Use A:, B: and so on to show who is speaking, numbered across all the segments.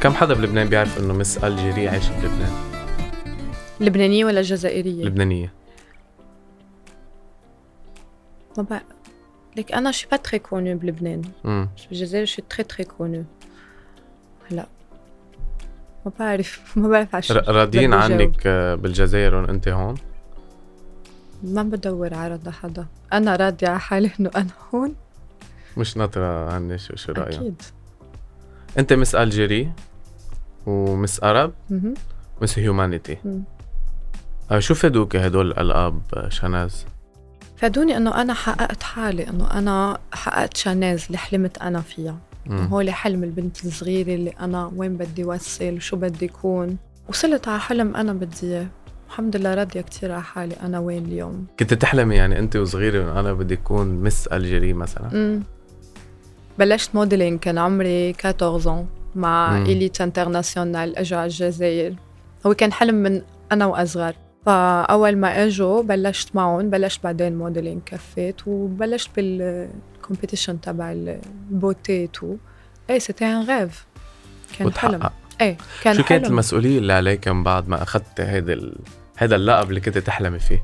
A: كم حدا بلبنان بيعرف انه مس الجيري عايشه بلبنان
B: لبنانية ولا جزائرية؟
A: لبنانيه
B: ما بقى لك انا شي با تري كونو بلبنان
A: امم
B: بس بالجزائر شي تري تري كونو هلا ما بعرف ما بعرف عشان
A: ر- راضيين
B: بدي جاوب.
A: عنك آه، بالجزائر وإن انت هون
B: ما بدور عرض لحدا انا راضية على حالي انه انا هون
A: مش ناطره عني شو شو رايك
B: اكيد
A: انت مس الجيري ومس عرب
B: مهم.
A: مس هيومانيتي
B: مم.
A: آه، شو فادوك هدول الالقاب آه، شناز
B: فادوني انه انا حققت حالي انه انا حققت شاناز اللي حلمت انا فيها
A: مم.
B: هو اللي حلم البنت الصغيرة اللي أنا وين بدي وصل وشو بدي كون وصلت على حلم أنا بدي إياه الحمد لله راضية كتير على حالي أنا وين اليوم
A: كنت تحلمي يعني انت وصغيره انه انا بدي اكون مس الجيري مثلا
B: مم. بلشت موديلينج كان عمري 14 مع
A: مم.
B: إليت انترناسيونال اجوا على الجزائر هو كان حلم من أنا وأصغر فأول ما اجوا بلشت معهم بلشت بعدين موديلينج كفيت وبلشت بالكومبيتيشن تبع البوتي تو ايه سيتي ان غيف كان حلم
A: وتحقق
B: ايه كان
A: آه. شو كانت
B: حلم.
A: المسؤوليه اللي عليك من بعد ما اخذت هيدا ال... هذا اللقب اللي كنت تحلمي فيه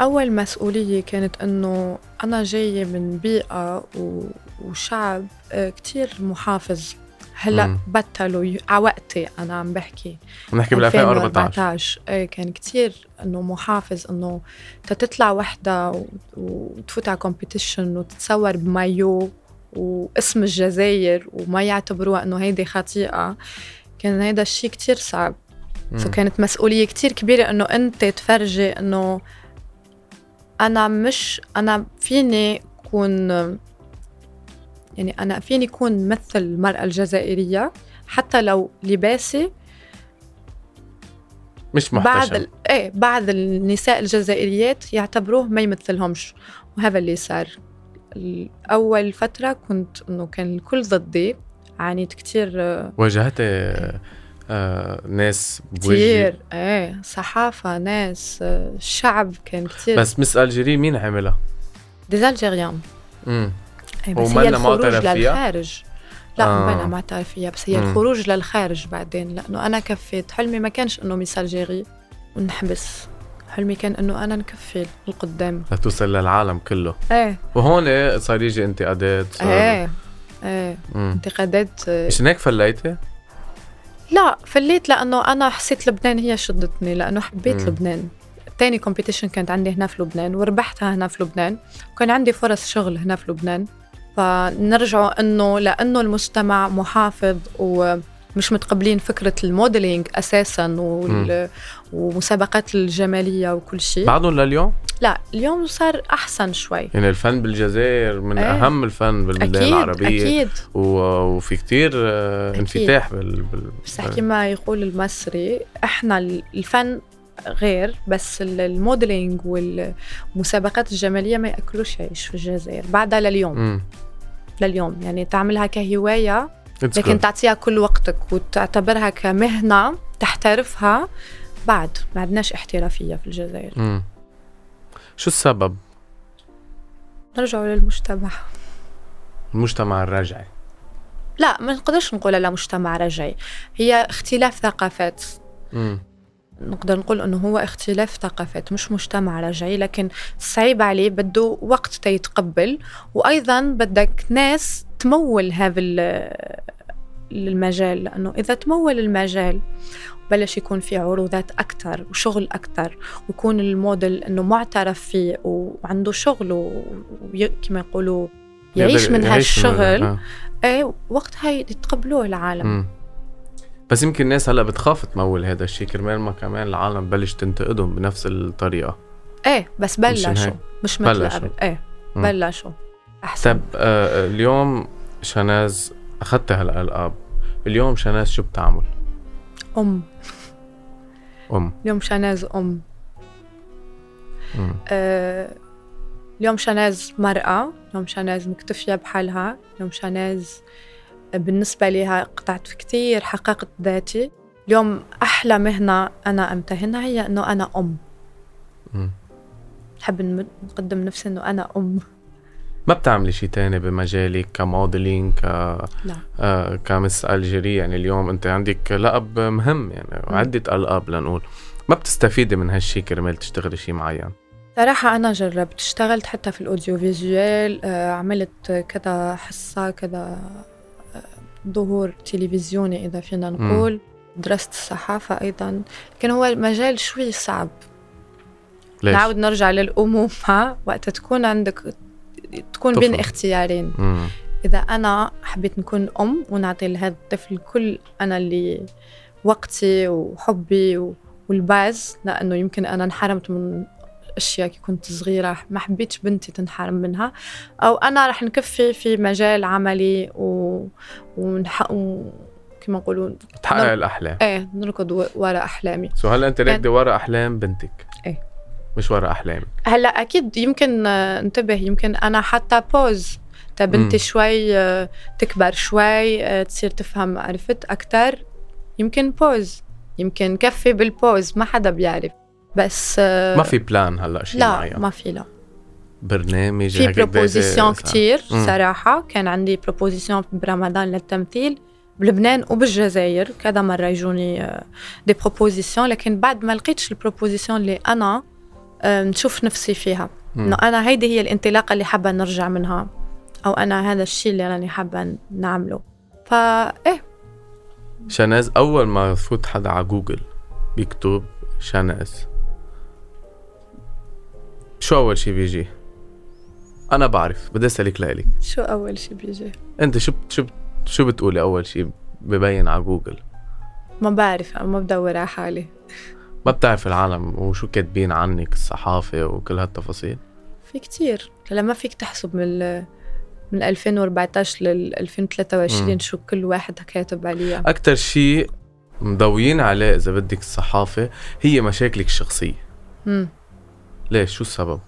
B: أول مسؤولية كانت إنه أنا جاية من بيئة و... وشعب آه، كتير محافظ هلا
A: مم.
B: بطلوا ي... على وقتي أنا عم بحكي
A: بنحكي بال 2014
B: ايه كان كتير إنه محافظ إنه تتطلع وحدة و... وتفوت على كومبيتيشن وتتصور بمايو واسم الجزائر وما يعتبروها إنه هيدي خطيئة كان هيدا الشيء كتير صعب سو
A: مم.
B: كانت مسؤولية كتير كبيرة انه انت تفرجي انه انا مش انا فيني كون يعني انا فيني كون مثل المرأة الجزائرية حتى لو لباسي
A: مش
B: بعض
A: محتشم
B: ال... ايه بعض النساء الجزائريات يعتبروه ما يمثلهمش وهذا اللي صار اول فترة كنت انه كان الكل ضدي عانيت كتير آه،
A: واجهت آه، آه، ناس بوجهك
B: كتير ايه صحافة ناس آه، الشعب كان كتير
A: بس مس الجيري مين عملها؟
B: دي الجيريان
A: مم.
B: أي إيه، بس
A: وما
B: هي
A: لها ما
B: الخروج
A: اعترف فيها؟
B: للخارج لا
A: آه.
B: آه. بلا ما اعترف فيها بس هي
A: مم.
B: الخروج للخارج بعدين لانه انا كفيت حلمي ما كانش انه ميس الجيري ونحبس حلمي كان انه انا نكفي لقدام
A: لتوصل للعالم كله
B: ايه
A: وهون صار يجي انتقادات صار-
B: ايه ايه
A: مم.
B: انتقادات آه،
A: مش هيك فليتي؟
B: إيه. لا فليت لانه انا حسيت لبنان هي شدتني لانه حبيت
A: مم.
B: مم. لبنان تاني كومبيتيشن كانت عندي هنا في لبنان وربحتها هنا في لبنان وكان عندي فرص شغل هنا في لبنان فنرجعوا انه لانه المجتمع محافظ ومش متقبلين فكرة الموديلينج أساسا وال... ومسابقات الجمالية وكل شيء
A: بعدهم لليوم؟
B: لا اليوم صار أحسن شوي
A: يعني الفن بالجزائر من
B: إيه.
A: اهم الفن بالبلدان
B: أكيد
A: العربيه
B: أكيد
A: و... وفي كتير آه،
B: أكيد.
A: انفتاح بال... بال...
B: بس احكي ما يقول المصري احنا ال- الفن غير بس ال- الموديلينج والمسابقات الجماليه ما ياكلوش عيش في الجزائر بعدها لليوم
A: مم.
B: لليوم يعني تعملها كهوايه
A: It's
B: لكن
A: good.
B: تعطيها كل وقتك وتعتبرها كمهنه تحترفها بعد ما عندناش احترافيه في الجزائر
A: مم. شو السبب؟
B: نرجعوا للمجتمع
A: المجتمع الرجعي
B: لا ما نقدرش نقول على مجتمع رجعي هي اختلاف ثقافات
A: مم.
B: نقدر نقول انه هو اختلاف ثقافات مش مجتمع رجعي لكن صعيب عليه بده وقت تيتقبل وايضا بدك ناس تمول هذا ال- المجال لانه اذا تمول المجال بلش يكون في عروضات اكثر وشغل اكثر ويكون الموديل انه معترف فيه وعنده شغل وكما يقولوا يعيش
A: يقدر-
B: من هالشغل
A: آه.
B: اي وقتها إيه، يتقبلوه العالم
A: مم. بس يمكن الناس هلا بتخاف تمول هذا الشيء كرمال ما كمان العالم بلش تنتقدهم بنفس الطريقه
B: ايه بس
A: مشان
B: بلشوا
A: هيك.
B: مش مثل
A: بلشوا.
B: قبل ايه
A: مم.
B: بلشوا احسن
A: طب آه اليوم شناز اخذت هالالقاب اليوم شناز شو بتعمل؟
B: ام
A: ام
B: اليوم شناز ام
A: مم.
B: آه، اليوم شناز مرأة اليوم شناز مكتفية بحالها اليوم شناز بالنسبة لها قطعت في كتير حققت ذاتي اليوم أحلى مهنة أنا أمتهنها هي أنه أنا أم
A: مم.
B: حب نقدم نفسي أنه أنا أم
A: ما بتعملي شيء تاني بمجالك كموديلينج ك
B: لا.
A: آه كمس الجيري يعني اليوم انت عندك لقب مهم يعني
B: مم.
A: عده القاب لنقول ما بتستفيدي من هالشي كرمال تشتغلي شيء معين
B: صراحة أنا جربت اشتغلت حتى في الأوديو فيجوال آه، عملت كذا حصة كذا آه، ظهور تلفزيوني إذا فينا نقول درست الصحافة أيضا لكن هو المجال شوي صعب
A: ليش؟
B: نعود نرجع للأمومة وقت تكون عندك تكون بين
A: طفل.
B: اختيارين
A: مم.
B: إذا أنا حبيت نكون أم ونعطي لهذا الطفل كل أنا اللي وقتي وحبي و- والباز لأنه يمكن أنا انحرمت من أشياء كي كنت صغيرة ما حبيتش بنتي تنحرم منها أو أنا رح نكفي في مجال عملي و... ونح... و... كما نقولوا
A: تحقق
B: نعم.
A: الاحلام
B: ايه نركض و- ورا احلامي
A: سو هلا انت راكده ورا احلام بنتك
B: إيه.
A: مش ورا احلامك
B: هلا اكيد يمكن آه، انتبه يمكن انا حتى بوز تا بنتي
A: مم.
B: شوي آه، تكبر شوي آه، تصير تفهم عرفت اكثر يمكن بوز يمكن كفي بالبوز ما حدا بيعرف بس آه،
A: ما في بلان هلا شيء
B: لا
A: معين
B: ما في لا
A: برنامج
B: في
A: هكذا-
B: بروبوزيسيون كتير
A: مم.
B: صراحة كان عندي بروبوزيسيون برمضان للتمثيل بلبنان وبالجزائر كذا مرة يجوني آه، دي بروبوزيسيون لكن بعد ما لقيتش البروبوزيسيون اللي أنا آه، نشوف نفسي فيها
A: مم.
B: انه انا هيدي هي الانطلاقه اللي حابه نرجع منها او انا هذا الشيء اللي راني حابه نعمله فا ايه
A: شناز اول ما يفوت حدا على جوجل بيكتب شناز شو اول شي بيجي انا بعرف بدي اسالك لإلك
B: شو اول شيء بيجي
A: انت شو بت- شو بت- شو بتقولي اول شي ببين على جوجل
B: ما بعرف أنا ما بدور على حالي
A: ما بتعرف العالم وشو كاتبين عنك الصحافه وكل هالتفاصيل
B: في كتير هلا ما فيك تحسب من ال- من 2014 لل 2023
A: مم.
B: شو كل واحد كاتب عليها
A: اكثر شيء مضويين عليه اذا بدك الصحافه هي مشاكلك الشخصيه
B: مم.
A: ليش شو السبب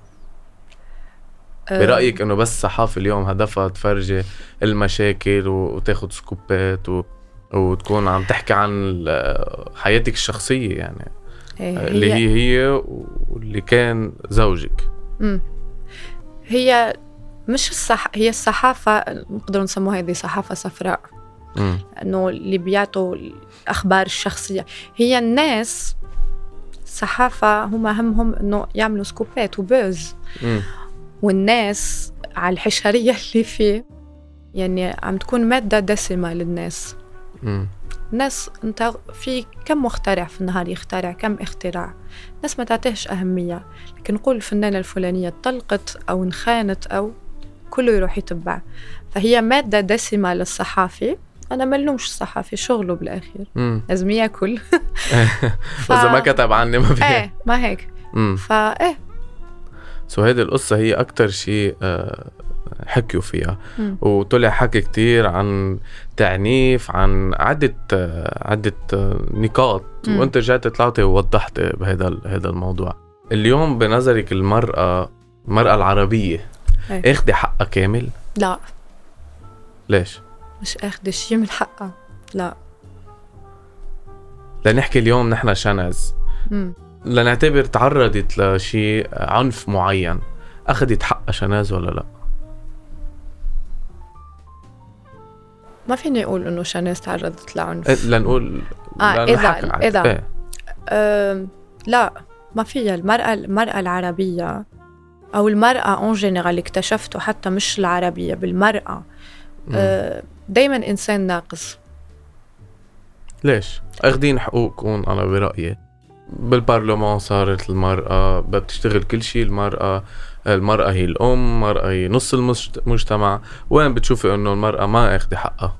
B: آه،
A: برايك انه بس الصحافه اليوم هدفها تفرجي المشاكل و- وتاخد سكوبات و... وتكون عم تحكي عن ال- حياتك الشخصيه يعني
B: إيه،
A: اللي هي هي واللي كان زوجك
B: مم. هي مش الصح هي الصحافه نقدر نسموها هذه صحافه صفراء
A: مم.
B: انه اللي بيعطوا الاخبار الشخصيه هي الناس الصحافه هم همهم انه يعملوا سكوبات وبوز
A: مم.
B: والناس على الحشريه اللي فيه يعني عم تكون ماده دسمه للناس
A: مم.
B: الناس انت في كم مخترع في النهار يخترع كم اختراع الناس ما تعطيهش اهميه لكن نقول الفنانه الفلانيه طلقت او انخانت او كله يروح يتبع فهي ماده دسمه للصحافي انا ما نلومش الصحافي شغله بالاخير
A: مم.
B: لازم ياكل ف...
A: اذا ما كتب عني ما في
B: ايه ما هيك إيه،
A: مم.
B: فايه
A: سو هيدي القصة هي أكتر شيء آه، حكيوا فيها
B: مم.
A: وطلع حكي كتير عن تعنيف عن عدة آه، عدة آه، نقاط
B: مم.
A: وأنت رجعت طلعتي ووضحت بهذا ال- هذا الموضوع اليوم بنظرك المرأة المرأة العربية
B: إيه.
A: اخدي حقها كامل
B: لا
A: ليش؟
B: مش اخذ شيء من حقها لا
A: لنحكي اليوم نحن شنز
B: مم.
A: لنعتبر تعرضت لشيء عنف معين أخدت حقها شناز ولا لا؟
B: ما فيني اقول انه شانيس تعرضت لعنف
A: إيه، لنقول
B: آه،
A: لنحكي
B: إذا-
A: عن-
B: إذا.
A: إيه.
B: أم، Euh, لا ما فيها المرأة المرأة العربية أو المرأة اون جينيرال اللي اكتشفته حتى مش العربية بالمرأة
A: مم.
B: آه، دائما إنسان ناقص
A: ليش؟ اخدين حقوقكم انا برايي بالبرلمان صارت المرأة بدها تشتغل كل شيء المرأة المرأة هي الأم المرأة هي نص المجت- المجتمع وين بتشوفي إنه المرأة ما أخذ حقها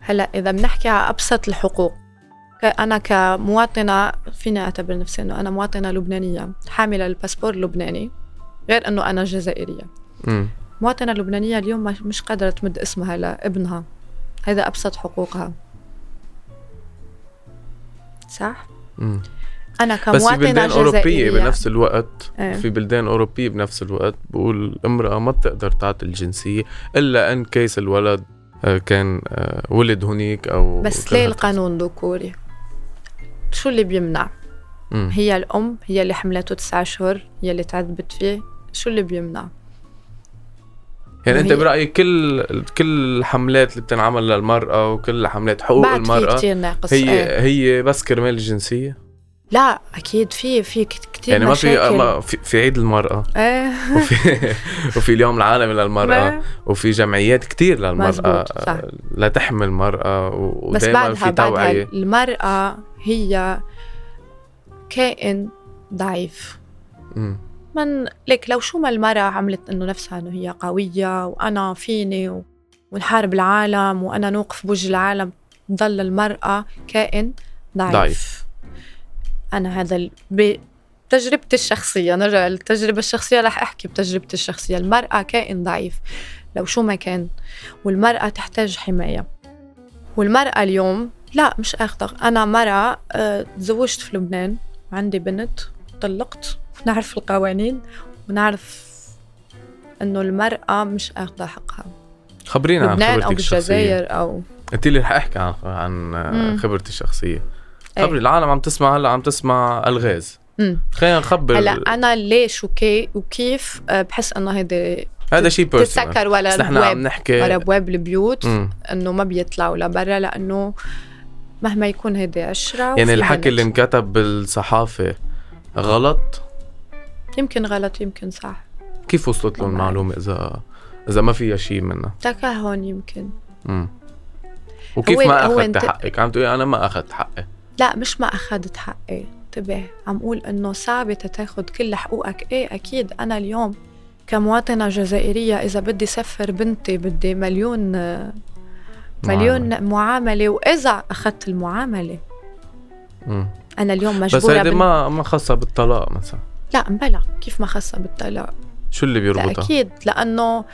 B: هلا إذا بنحكي على أبسط الحقوق ك- أنا كمواطنة فيني أعتبر نفسي إنه أنا مواطنة لبنانية حاملة الباسبور اللبناني غير إنه أنا جزائرية
A: أمم.
B: مواطنة لبنانية اليوم مش- مش قادرة تمد اسمها لابنها هذا أبسط حقوقها صح؟
A: أمم.
B: أنا
A: بس
B: كمواطنة
A: في بلدان أوروبية
B: جزائرية
A: بنفس الوقت
B: إيه.
A: في بلدان أوروبية بنفس الوقت بقول الامرأة ما بتقدر تعطي الجنسية إلا إن كيس الولد آه، كان آه، ولد هنيك أو
B: بس
A: كل
B: ليه
A: هال-
B: القانون ذكوري؟ شو اللي بيمنع؟
A: أمم.
B: هي الأم هي اللي حملته تسعة أشهر هي اللي تعذبت فيه شو اللي بيمنع؟
A: يعني انت
B: وهي-
A: برايك كل كل الحملات اللي بتنعمل للمراه وكل حملات حقوق
B: بعد في
A: المراه
B: كثير ناقص إيه.
A: هي هي بس كرمال الجنسيه
B: لا اكيد في في كثير
A: يعني ما في
B: مشاكل.
A: ما في, في عيد المراه
B: ايه
A: وفي وفي اليوم العالمي للمراه
B: ما-
A: وفي جمعيات كتير للمراه
B: مزبوط، صح.
A: لتحمي المراه و-
B: بس
A: ودائما
B: بعدها
A: في
B: بعدها
A: توعيه
B: المرأة هي كائن ضعيف
A: مم.
B: من لك لو شو ما المرأة عملت انه نفسها انه هي قوية وانا فيني و... ونحارب العالم وانا نوقف بوجه العالم تضل المرأة كائن ضعيف,
A: ضعيف.
B: انا هذا ال... بتجربتي الشخصية نرجع للتجربة الشخصية رح احكي بتجربتي الشخصية المرأة كائن ضعيف لو شو ما كان والمرأة تحتاج حماية والمرأة اليوم لا مش اخضر انا مرأة آه، تزوجت في لبنان عندي بنت طلقت نعرف القوانين ونعرف انه المرأة مش اخذة حقها
A: خبرينا عن
B: لبنان او
A: خبرتك الشخصيه
B: بالجزائر او
A: انت اللي رح احكي عن عن
B: مم.
A: خبرتي الشخصيه
B: إيه.
A: خبري العالم عم تسمع هلا عم تسمع الغاز
B: مم.
A: خلينا نخبر
B: هلا
A: ال-
B: انا ليش وكي وكيف آه، بحس انه هيدي
A: هذا شيء بيرسونال
B: تتسكر ولا
A: بس نحن عم
B: بواب ولا
A: نحكي
B: بواب البيوت
A: مم.
B: انه ما بيطلعوا لبرا لانه مهما يكون هيدي عشرة وفي
A: يعني الحكي اللي
B: بنت.
A: انكتب بالصحافه غلط
B: يمكن غلط يمكن صح
A: كيف وصلت لهم
B: ما بعرف.
A: المعلومه اذا اذا ما فيها شيء منها
B: تكهن يمكن
A: مم. وكيف
B: هو-
A: ما
B: هو
A: اخذت
B: انت-
A: حقك عم تقولي انا ما اخذت حقي
B: لا مش ما أخذت حقي انتبه عم قول إنه صعب تاخد كل حقوقك إيه أكيد أنا اليوم كمواطنة جزائرية إذا بدي سفر بنتي بدي مليون آه، مليون معاملة وإذا أخذت المعاملة
A: مم.
B: أنا اليوم
A: بس
B: مجبورة
A: هيدي ما ما خاصه بالطلاق مثلا
B: لا بلا كيف ما خاصة بالطلاق
A: شو اللي
B: لا
A: بيربطها
B: أكيد لأنه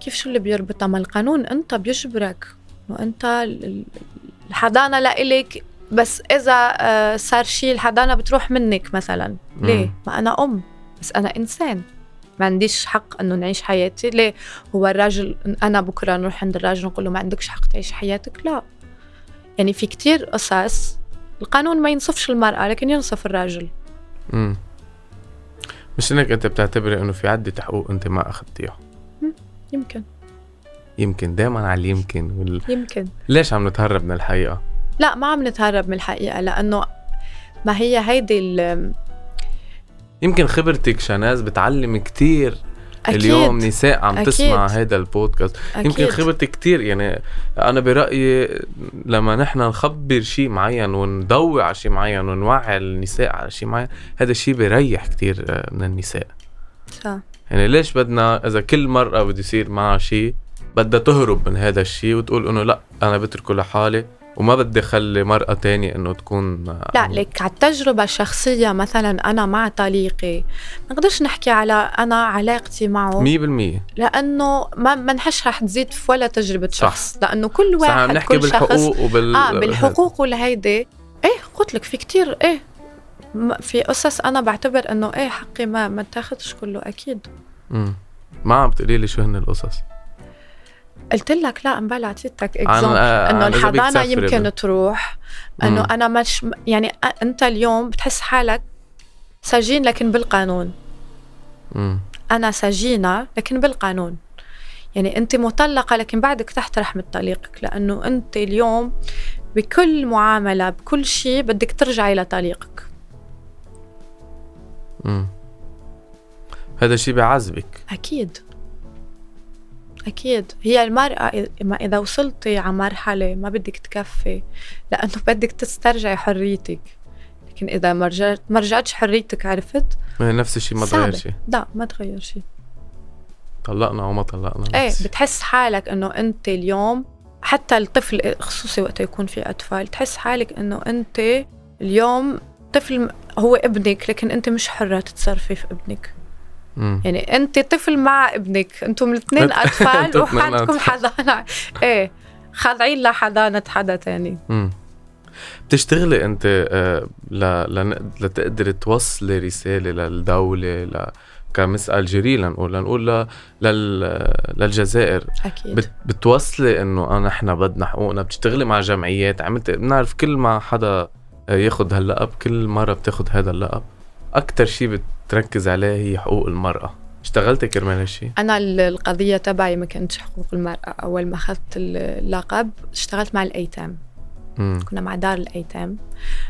B: كيف شو اللي بيربطها ما القانون أنت بيجبرك إنه أنت ال- ال- الحضانة لإلك بس إذا آه، صار شيء الحضانة بتروح منك مثلاً
A: مم.
B: ليه؟ ما أنا أم بس أنا إنسان ما عنديش حق إنه نعيش حياتي ليه؟ هو الراجل أنا بكرة نروح عند الراجل نقول له ما عندكش حق تعيش حياتك لا يعني في كتير قصص القانون ما ينصفش المرأة لكن ينصف الراجل
A: مم. مش انك انت بتعتبري انه في عده حقوق انت ما اخذتيها
B: يمكن
A: يمكن دائما على اليمكن وال...
B: يمكن
A: ليش عم نتهرب من الحقيقه
B: لا ما عم نتهرب من الحقيقة لأنه ما هي هيدي ال-
A: يمكن خبرتك شناز بتعلم كتير
B: أكيد
A: اليوم نساء عم
B: أكيد.
A: تسمع هذا البودكاست
B: أكيد.
A: يمكن خبرتي كتير يعني انا برايي لما نحن نخبر شيء معين ونضوي على شيء معين ونوعي النساء على شيء معين هذا الشيء بيريح كتير آه، من النساء
B: صح.
A: يعني ليش بدنا اذا كل مرأة بده يصير معها شيء بدها تهرب من هذا الشيء وتقول انه لا انا بتركه لحالي وما بدي اخلي مرأة تانية انه تكون آه،
B: لا
A: عم-
B: لك على التجربة الشخصية مثلا أنا مع طليقي ما نقدرش نحكي على أنا علاقتي معه
A: 100%
B: لأنه ما ما نحش رح تزيد في ولا تجربة
A: صح.
B: شخص لأنه كل
A: صح عم
B: واحد
A: نحكي
B: كل شخص
A: بالحقوق وبال
B: آه بالحقوق والهيدي إيه قلت لك في كتير إيه م- في قصص أنا بعتبر إنه إيه حقي ما ما تاخدش كله أكيد
A: مم. ما عم تقولي لي شو هن القصص
B: قلت لك لا امبلا اعطيتك
A: عن-
B: اكزامبل
A: آه، عن
B: انه
A: إذا بدك
B: الحضانه
A: تسافري بال-
B: يمكن تروح انه
A: مم.
B: انا مش يعني أ- انت اليوم بتحس حالك سجين لكن بالقانون
A: مم.
B: انا سجينه لكن بالقانون يعني انت مطلقه لكن بعدك تحت رحمه طليقك لانه انت اليوم بكل معامله بكل شيء بدك ترجعي لطليقك
A: مم. هذا الشيء بيعذبك
B: اكيد اكيد هي المراه إذ- ما اذا وصلتي على مرحله ما بدك تكفي لانه بدك تسترجعي حريتك لكن اذا ما رجعت ما رجعتش حريتك عرفت
A: ما هي نفس الشيء ما
B: صعبة.
A: تغير شيء
B: لا ما تغير شيء
A: طلقنا او ما طلقنا
B: ايه
A: نفس الشيء.
B: بتحس حالك انه انت اليوم حتى الطفل خصوصي وقت يكون في اطفال تحس حالك انه انت اليوم طفل م- هو ابنك لكن انت مش حره تتصرفي في ابنك
A: مم.
B: يعني انت طفل مع ابنك انتم الاثنين اطفال
A: انتوا الاثنين
B: وعندكم
A: أطفال.
B: حضانه ايه خاضعين لحضانه حدا تاني
A: مم. بتشتغلي انت آه، ل... لن... لتقدري توصلي رساله للدوله ل... كمس الجيري لنقول لنقول ل... لل... للجزائر
B: اكيد
A: بت... بتوصلي انه انا احنا بدنا حقوقنا بتشتغلي مع جمعيات عملت بنعرف كل ما حدا آه، ياخذ هاللقب كل مره بتاخذ هذا اللقب اكثر شيء بتركز عليه هي حقوق المراه اشتغلت كرمال هالشيء
B: أنا ال- القضية تبعي ما كانتش حقوق المرأة أول ما أخذت ال- اللقب اشتغلت مع الأيتام
A: امم
B: كنا مع دار الأيتام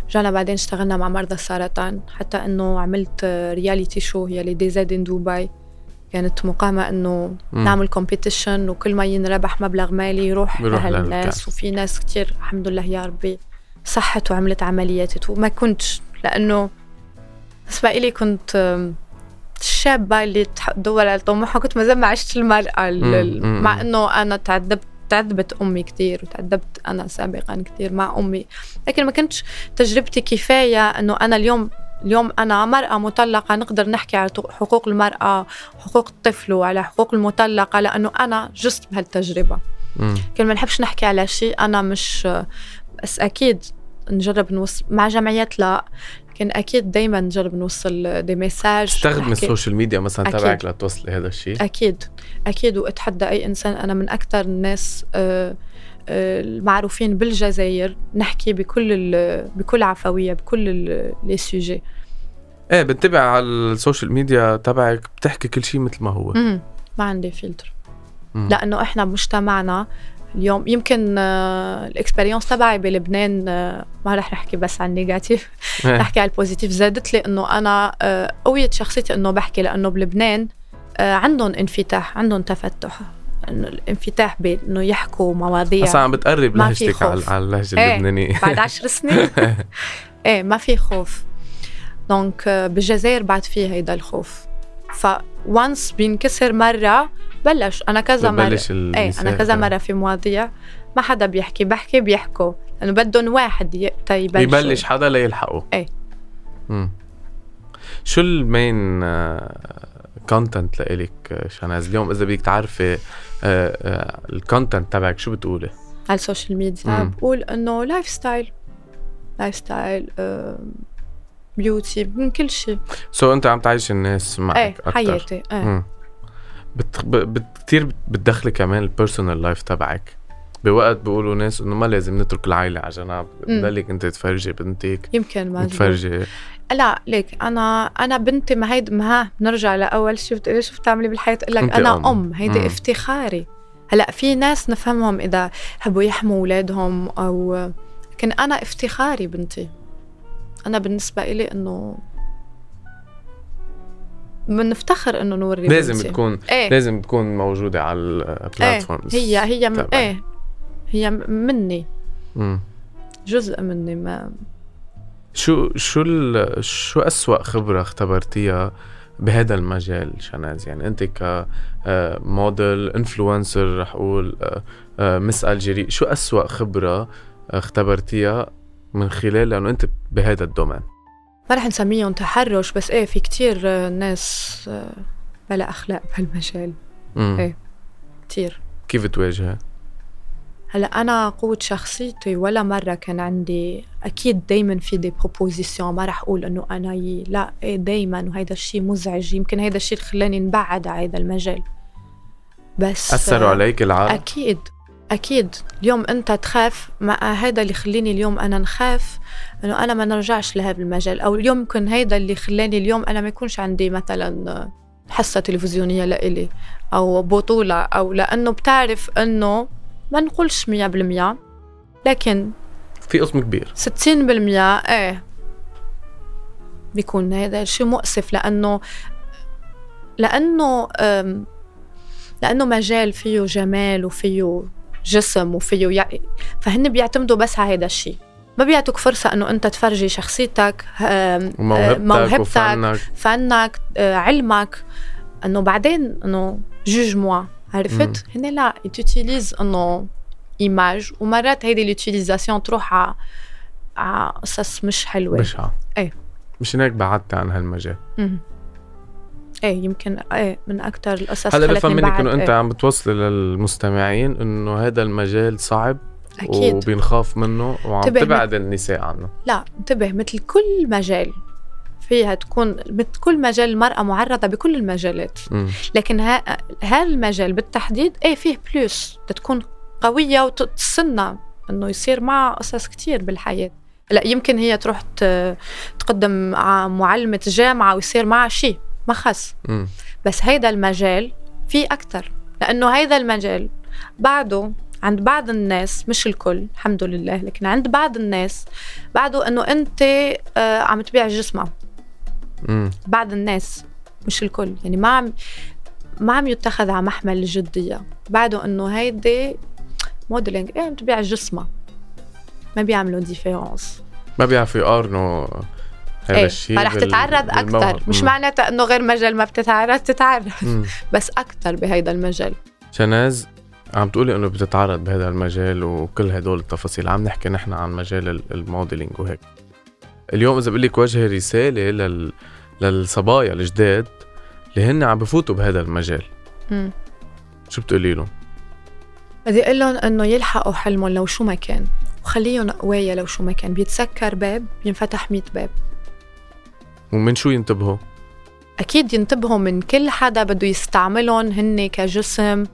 B: رجعنا بعدين اشتغلنا مع مرضى السرطان حتى أنه عملت رياليتي شو هي اللي دي زاد دبي كانت مقامة أنه
A: مم.
B: نعمل كومبيتيشن وكل ما ينربح مبلغ مالي يروح
A: بيروح
B: لهالناس
A: لهالكاس.
B: وفي ناس كتير الحمد لله يا ربي صحت وعملت عمليات وما كنتش لأنه بالنسبة إلي كنت أم، الشابة اللي تدور على طموحها كنت مازال ما عشت المرأة ال- ال-
A: مم، مم.
B: مع أنه أنا تعذبت تعذبت أمي كتير وتعذبت أنا سابقا كتير مع أمي لكن ما كنتش تجربتي كفاية أنه أنا اليوم اليوم أنا مرأة مطلقة نقدر نحكي على حقوق المرأة حقوق الطفل وعلى حقوق المطلقة لأنه أنا جزت بهالتجربة
A: امم
B: كل ما نحبش نحكي على شيء أنا مش بس أكيد نجرب نوصل مع جمعيات لا لكن أكيد دايما نجرب نوصل دي ميساج
A: تستخدمي
B: نحكي-
A: السوشيال ميديا مثلا
B: أكيد.
A: تبعك لتوصلي هذا الشيء
B: أكيد أكيد وأتحدى أي إنسان أنا من أكثر الناس آه، آه، المعروفين بالجزائر نحكي بكل ال- بكل عفوية بكل ال- لي سوجي
A: ايه بنتبع على السوشيال ميديا تبعك بتحكي كل شيء مثل ما هو
B: مم. ما عندي فلتر
A: مم.
B: لانه احنا مجتمعنا اليوم يمكن آه، الاكسبيرينس تبعي بلبنان آه، ما رح نحكي بس عن نيجاتيف
A: إيه.
B: نحكي على البوزيتيف زادت لي انه انا آه، قويه شخصيتي انه بحكي لانه بلبنان آه، عندهم انفتاح عندهم تفتح انه الانفتاح بانه يحكوا مواضيع
A: هسا عم بتقرب
B: ما في
A: لهجتك على
B: خوف.
A: على اللهجه
B: إيه.
A: اللبنانيه
B: بعد عشر سنين
A: إيه.
B: ايه ما في خوف دونك آه، بالجزائر بعد في هيدا الخوف فوانس بينكسر مره بلش انا كذا مره
A: ببلش
B: ايه انا
A: المساحة.
B: كذا مره في مواضيع ما حدا بيحكي بحكي بيحكوا لانه بدهم واحد ي- طيب تا يبلش
A: يبلش حدا ليلحقه
B: إيه.
A: مم. شو المين كونتنت لإلك شاناز اليوم اذا بدك تعرفي آه، الكونتنت تبعك شو بتقولي
B: على السوشيال ميديا
A: مم.
B: بقول انه لايف ستايل لايف ستايل بيوتي آه، من كل شيء
A: سو انت عم تعيش الناس معك
B: ايه
A: أكتر.
B: حياتي ايه
A: مم. بت... ب... بت... كتير بت- بتدخلي كمان البيرسونال لايف تبعك بوقت بيقولوا ناس انه ما لازم نترك العائله على جنب
B: مم.
A: بضلك انت تفرجي بنتك
B: يمكن ما أزبط.
A: تفرجي
B: لا ليك انا انا بنتي ما هيد ما ها، بنرجع لاول شيء بتقولي شو بتعملي بالحياه اقول لك
A: أنت
B: انا
A: أم.
B: ام, أم. هيدي
A: مم.
B: افتخاري هلا في ناس نفهمهم اذا حبوا يحموا اولادهم او لكن انا افتخاري بنتي انا بالنسبه إلي انه بنفتخر انه نوري
A: لازم
B: بنتي.
A: تكون
B: ايه
A: لازم تكون موجوده على uh, البلاتفورمز
B: هي هي من
A: تبعي.
B: ايه هي مني
A: مم.
B: جزء مني ما
A: شو شو ال... شو أسوأ خبرة اختبرتيها بهذا المجال شناز يعني انت ك آه، موديل انفلونسر رح اقول آه، آه، مس الجيري شو أسوأ خبرة اختبرتيها من خلال لانه انت بهذا الدومين
B: ما رح نسميهم تحرش بس ايه في كتير آه، ناس آه، بلا اخلاق بهالمجال
A: مم.
B: إيه. كتير
A: كيف تواجهها؟
B: هلا انا قوة شخصيتي ولا مرة كان عندي اكيد دايما في دي بروبوزيسيون ما رح اقول انه انا ي... لا ايه دايما وهيدا الشيء مزعج يمكن هيدا الشيء اللي خلاني نبعد على هيدا المجال بس
A: اثروا عليك العالم
B: أكيد أكيد اليوم أنت تخاف ما هذا اللي خليني اليوم أنا نخاف إنه أنا ما نرجعش لهذا المجال أو اليوم يمكن هيدا اللي خلاني اليوم أنا ما يكونش عندي مثلا حصة تلفزيونية لإلي أو بطولة أو لأنه بتعرف إنه ما نقولش 100% لكن
A: في قسم كبير
B: 60% إيه بيكون هذا الشيء مؤسف لأنه لأنه أم، لأنه مجال فيه جمال وفيه جسم وفيه يعني فهن بيعتمدوا بس على هذا الشيء ما بيعطوك فرصة إنه أنت تفرجي شخصيتك أم،
A: وموهبتك,
B: آه، موهبتك،
A: وفنك
B: فنك آه، علمك انه بعدين انه جوج موا عرفت هنا لا تutilize انه ايماج ومرات هيدي اليوتيليزاسيون تروح على على قصص مش حلوه
A: مش ها
B: إيه.
A: مش هيك بعدت عن هالمجال
B: مم. ايه يمكن ايه من اكثر القصص
A: هلا
B: خلتني
A: بفهم منك
B: بعد-
A: انه انت
B: إيه.
A: عم بتوصلي للمستمعين انه هذا المجال صعب
B: اكيد
A: وبنخاف منه وعم
B: تبعد-
A: تبعد النساء عنه
B: لا انتبه مثل كل مجال فيها تكون مثل كل مجال المرأة معرضة بكل المجالات
A: مم.
B: لكن ها هذا المجال بالتحديد ايه فيه بلوس تكون قوية وتتسنى انه يصير معها قصص كتير بالحياة لا يمكن هي تروح ت- تقدم ع- معلمة جامعة ويصير معها شيء ما خص
A: مم.
B: بس هيدا المجال في أكتر لأنه هيدا المجال بعده عند بعض الناس مش الكل الحمد لله لكن عند بعض الناس بعده أنه أنت آه، عم تبيع جسمك
A: مم.
B: بعض الناس مش الكل يعني ما عم ما عم يتخذ على محمل الجدية بعده انه هيدي موديلينج ايه عم تبيع جسمها ما بيعملوا ديفيرونس
A: ما بيعرفوا يقارنوا هذا
B: ايه
A: الشيء
B: فرح
A: بال-
B: تتعرض
A: بالموهبة.
B: اكثر مش
A: مم.
B: معناتها انه غير مجال ما بتتعرض تتعرض
A: مم.
B: بس اكثر بهيدا المجال
A: شناز عم تقولي انه بتتعرض بهذا المجال وكل هدول التفاصيل عم نحكي نحن عن مجال ال- الموديلينج وهيك اليوم اذا بقول لك وجه رساله لل... للصبايا الجداد اللي هن عم بفوتوا بهذا المجال
B: مم.
A: شو بتقولي لهم
B: بدي اقول لهم انه يلحقوا حلمهم لو شو ما كان وخليهم قوايا لو شو ما كان بيتسكر باب بينفتح 100 باب
A: ومن شو ينتبهوا
B: اكيد ينتبهوا من كل حدا بده يستعملهم هن كجسم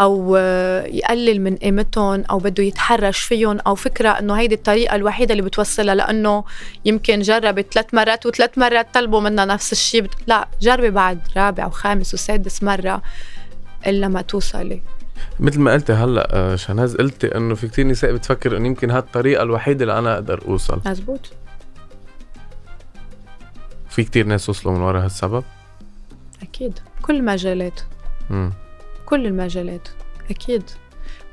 B: او آه، يقلل من قيمتهم او بده يتحرش فيهم او فكره انه هيدي الطريقه الوحيده اللي بتوصلها لانه يمكن جربت ثلاث مرات وثلاث مرات طلبوا منها نفس الشيء بت... لا جربي بعد رابع وخامس وسادس مره الا ما توصلي
A: مثل ما قلت هلا آه، شناز قلت انه في كتير نساء بتفكر انه يمكن هالطريقه الوحيده اللي انا اقدر اوصل
B: مزبوط
A: في كتير ناس وصلوا من ورا هالسبب
B: اكيد كل المجالات
A: مم.
B: كل المجالات أكيد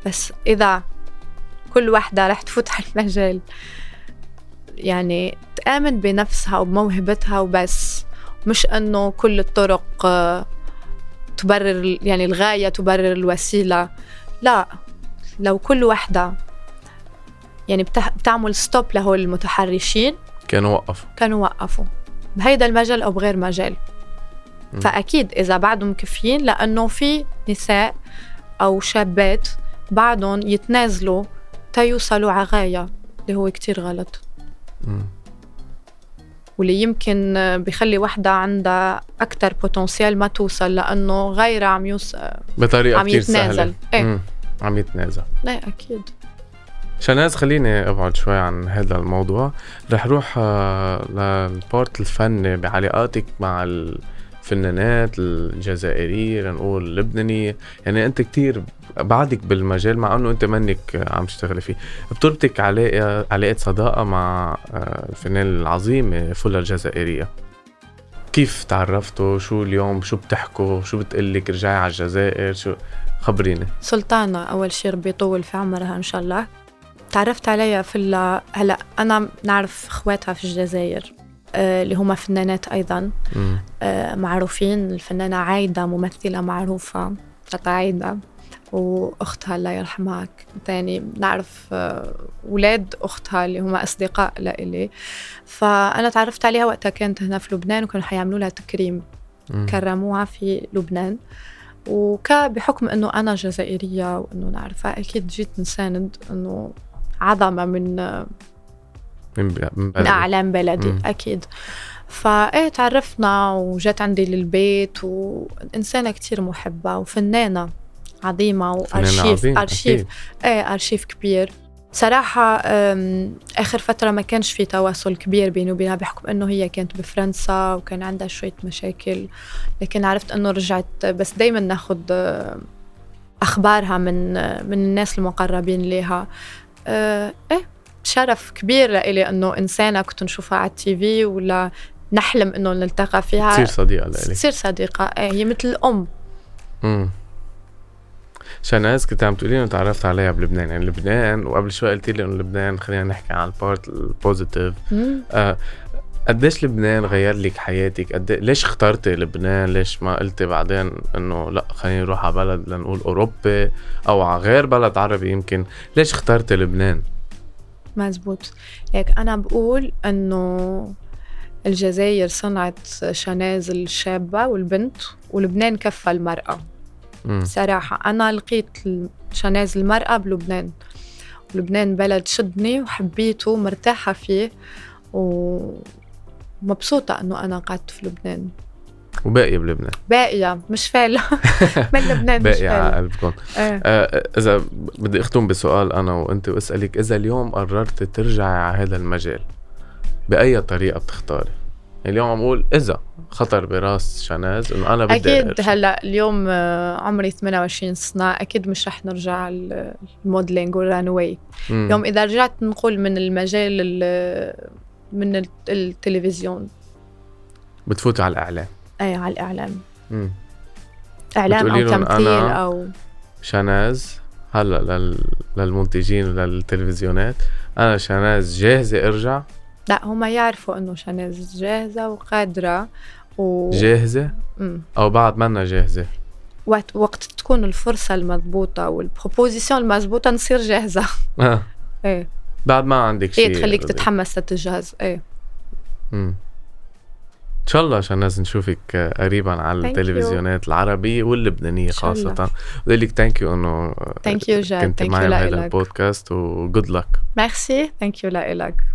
B: بس إذا كل وحدة رح تفوت على المجال يعني تآمن بنفسها وبموهبتها وبس مش إنه كل الطرق آه، تبرر يعني الغاية تبرر الوسيلة لا لو كل وحدة يعني بتح- بتعمل ستوب لهول المتحرشين
A: كانوا وقفوا
B: كانوا وقفوا بهيدا المجال او بغير مجال
A: مم.
B: فاكيد اذا بعدهم مكفيين لانه في نساء او شابات بعدهم يتنازلوا تيوصلوا على غايه اللي هو كتير غلط
A: مم.
B: واللي يمكن بخلي وحدة عندها أكتر بوتنسيال ما توصل لأنه غيرها عم يوصل
A: بطريقه
B: عم
A: كتير
B: يتنازل.
A: سهله
B: إيه.
A: مم. عم يتنازل
B: إيه أكيد
A: شناز خليني ابعد شوي عن هذا الموضوع رح روح آه، للبارت الفني بعلاقاتك مع الفنانات الجزائرية لنقول اللبنانية يعني انت كتير بعدك بالمجال مع انه انت منك آه، عم تشتغلي فيه بتربطك علاقة علاقة صداقة مع آه، الفنان العظيمة فلا الجزائرية كيف تعرفتوا شو اليوم شو بتحكوا شو بتقلك رجعي على الجزائر شو خبريني
B: سلطانة أول شي ربي يطول في عمرها إن شاء الله تعرفت عليها في ال- هلا أنا نعرف إخواتها في الجزائر آه، اللي هما فنانات أيضاً
A: مم.
B: آه، معروفين الفنانة عايدة ممثلة معروفة تتا عايدة وأختها الله يرحمها تاني نعرف آه، ولاد أختها اللي هم أصدقاء لإلي فأنا تعرفت عليها وقتها كانت هنا في لبنان وكانوا حيعملوا لها تكريم
A: مم.
B: كرموها في لبنان وبحكم انه انا جزائريه وانه نعرفها اكيد جيت نساند انه عظمه من آه،
A: من بلا- من
B: من
A: بلدك.
B: اعلام بلدي
A: مم.
B: م. اكيد فايه تعرفنا وجات عندي للبيت وانسانه كتير محبه وفنانه عظيمه
A: فنان
B: وارشيف
A: عظيم،
B: ارشيف
A: أكيد.
B: ايه ارشيف كبير صراحة أم، آخر فترة ما كانش في تواصل كبير بيني وبينها بحكم إنه هي كانت بفرنسا وكان عندها شوية مشاكل لكن عرفت إنه رجعت بس دايما ناخد أم، أخبارها من أم، من الناس المقربين ليها أه، إيه شرف كبير لإلي إنه إنسانة كنت نشوفها على التي في ولا نحلم إنه
A: تصير
B: نلتقى فيها
A: صديقة لإلي
B: تصير صديقة إيه هي مثل أم
A: امم شناز كنت عم تقولي انه تعرفت عليها بلبنان يعني لبنان وقبل شوي قلتي لي انه لبنان خلينا نحكي عن البارت البوزيتيف
B: مم.
A: آه قديش لبنان غير لك حياتك قد إيه- ليش اخترتي لبنان ليش ما قلتي بعدين انه لا خليني اروح على بلد لنقول اوروبي او على غير بلد عربي يمكن ليش اخترتي لبنان
B: مزبوط لك أنا بقول إنه الجزائر صنعت شناز الشابة والبنت ولبنان كفى المرأة
A: امم
B: صراحة أنا لقيت شناز المرأة بلبنان لبنان بلد شدني وحبيته مرتاحة فيه ومبسوطة إنه أنا قعدت في لبنان
A: وباقي بلبنان
B: باقية مش فعلة من لبنان مش
A: باقي على
B: فعلة
A: قلبكم
B: إيه.
A: آه، اذا بدي اختم بسؤال انا وانت واسالك اذا اليوم قررت ترجعي على هذا المجال باي طريقه بتختاري يعني اليوم عم اقول اذا خطر براس شناز انه انا بدي
B: اكيد
A: أرجع.
B: هلا اليوم آه، عمري 28 سنه اكيد مش رح نرجع ال- الموديلينج والرانوي
A: مم.
B: اليوم اذا رجعت نقول من المجال ال- من ال- التلفزيون
A: بتفوت على الاعلام
B: اي على الاعلام
A: مم.
B: اعلام
A: بتقولي
B: او
A: لهم
B: تمثيل
A: أنا-
B: او
A: شناز هلا لل... للمنتجين وللتلفزيونات انا شناز جاهزه ارجع
B: لا هم يعرفوا انه شناز جاهزه وقادره و
A: جاهزه
B: مم.
A: او بعد منا جاهزه
B: وقت وقت تكون الفرصه المضبوطه والبروبوزيسيون المضبوطه نصير جاهزه
A: آه.
B: ايه
A: بعد ما عندك شيء
B: هي إيه، تخليك تتحمس تتجهز ايه
A: مم. ان شاء الله شناز نشوفك آه، قريبا على
B: Thank
A: التلفزيونات العربيه واللبنانيه
B: إن شاء الله.
A: خاصه بدي لك ثانك يو انه آه،
B: ثانك يو جاد
A: كنت
B: ثانك يو
A: معي بهذا
B: لك
A: البودكاست وجود لك
B: ميرسي ثانك يو لك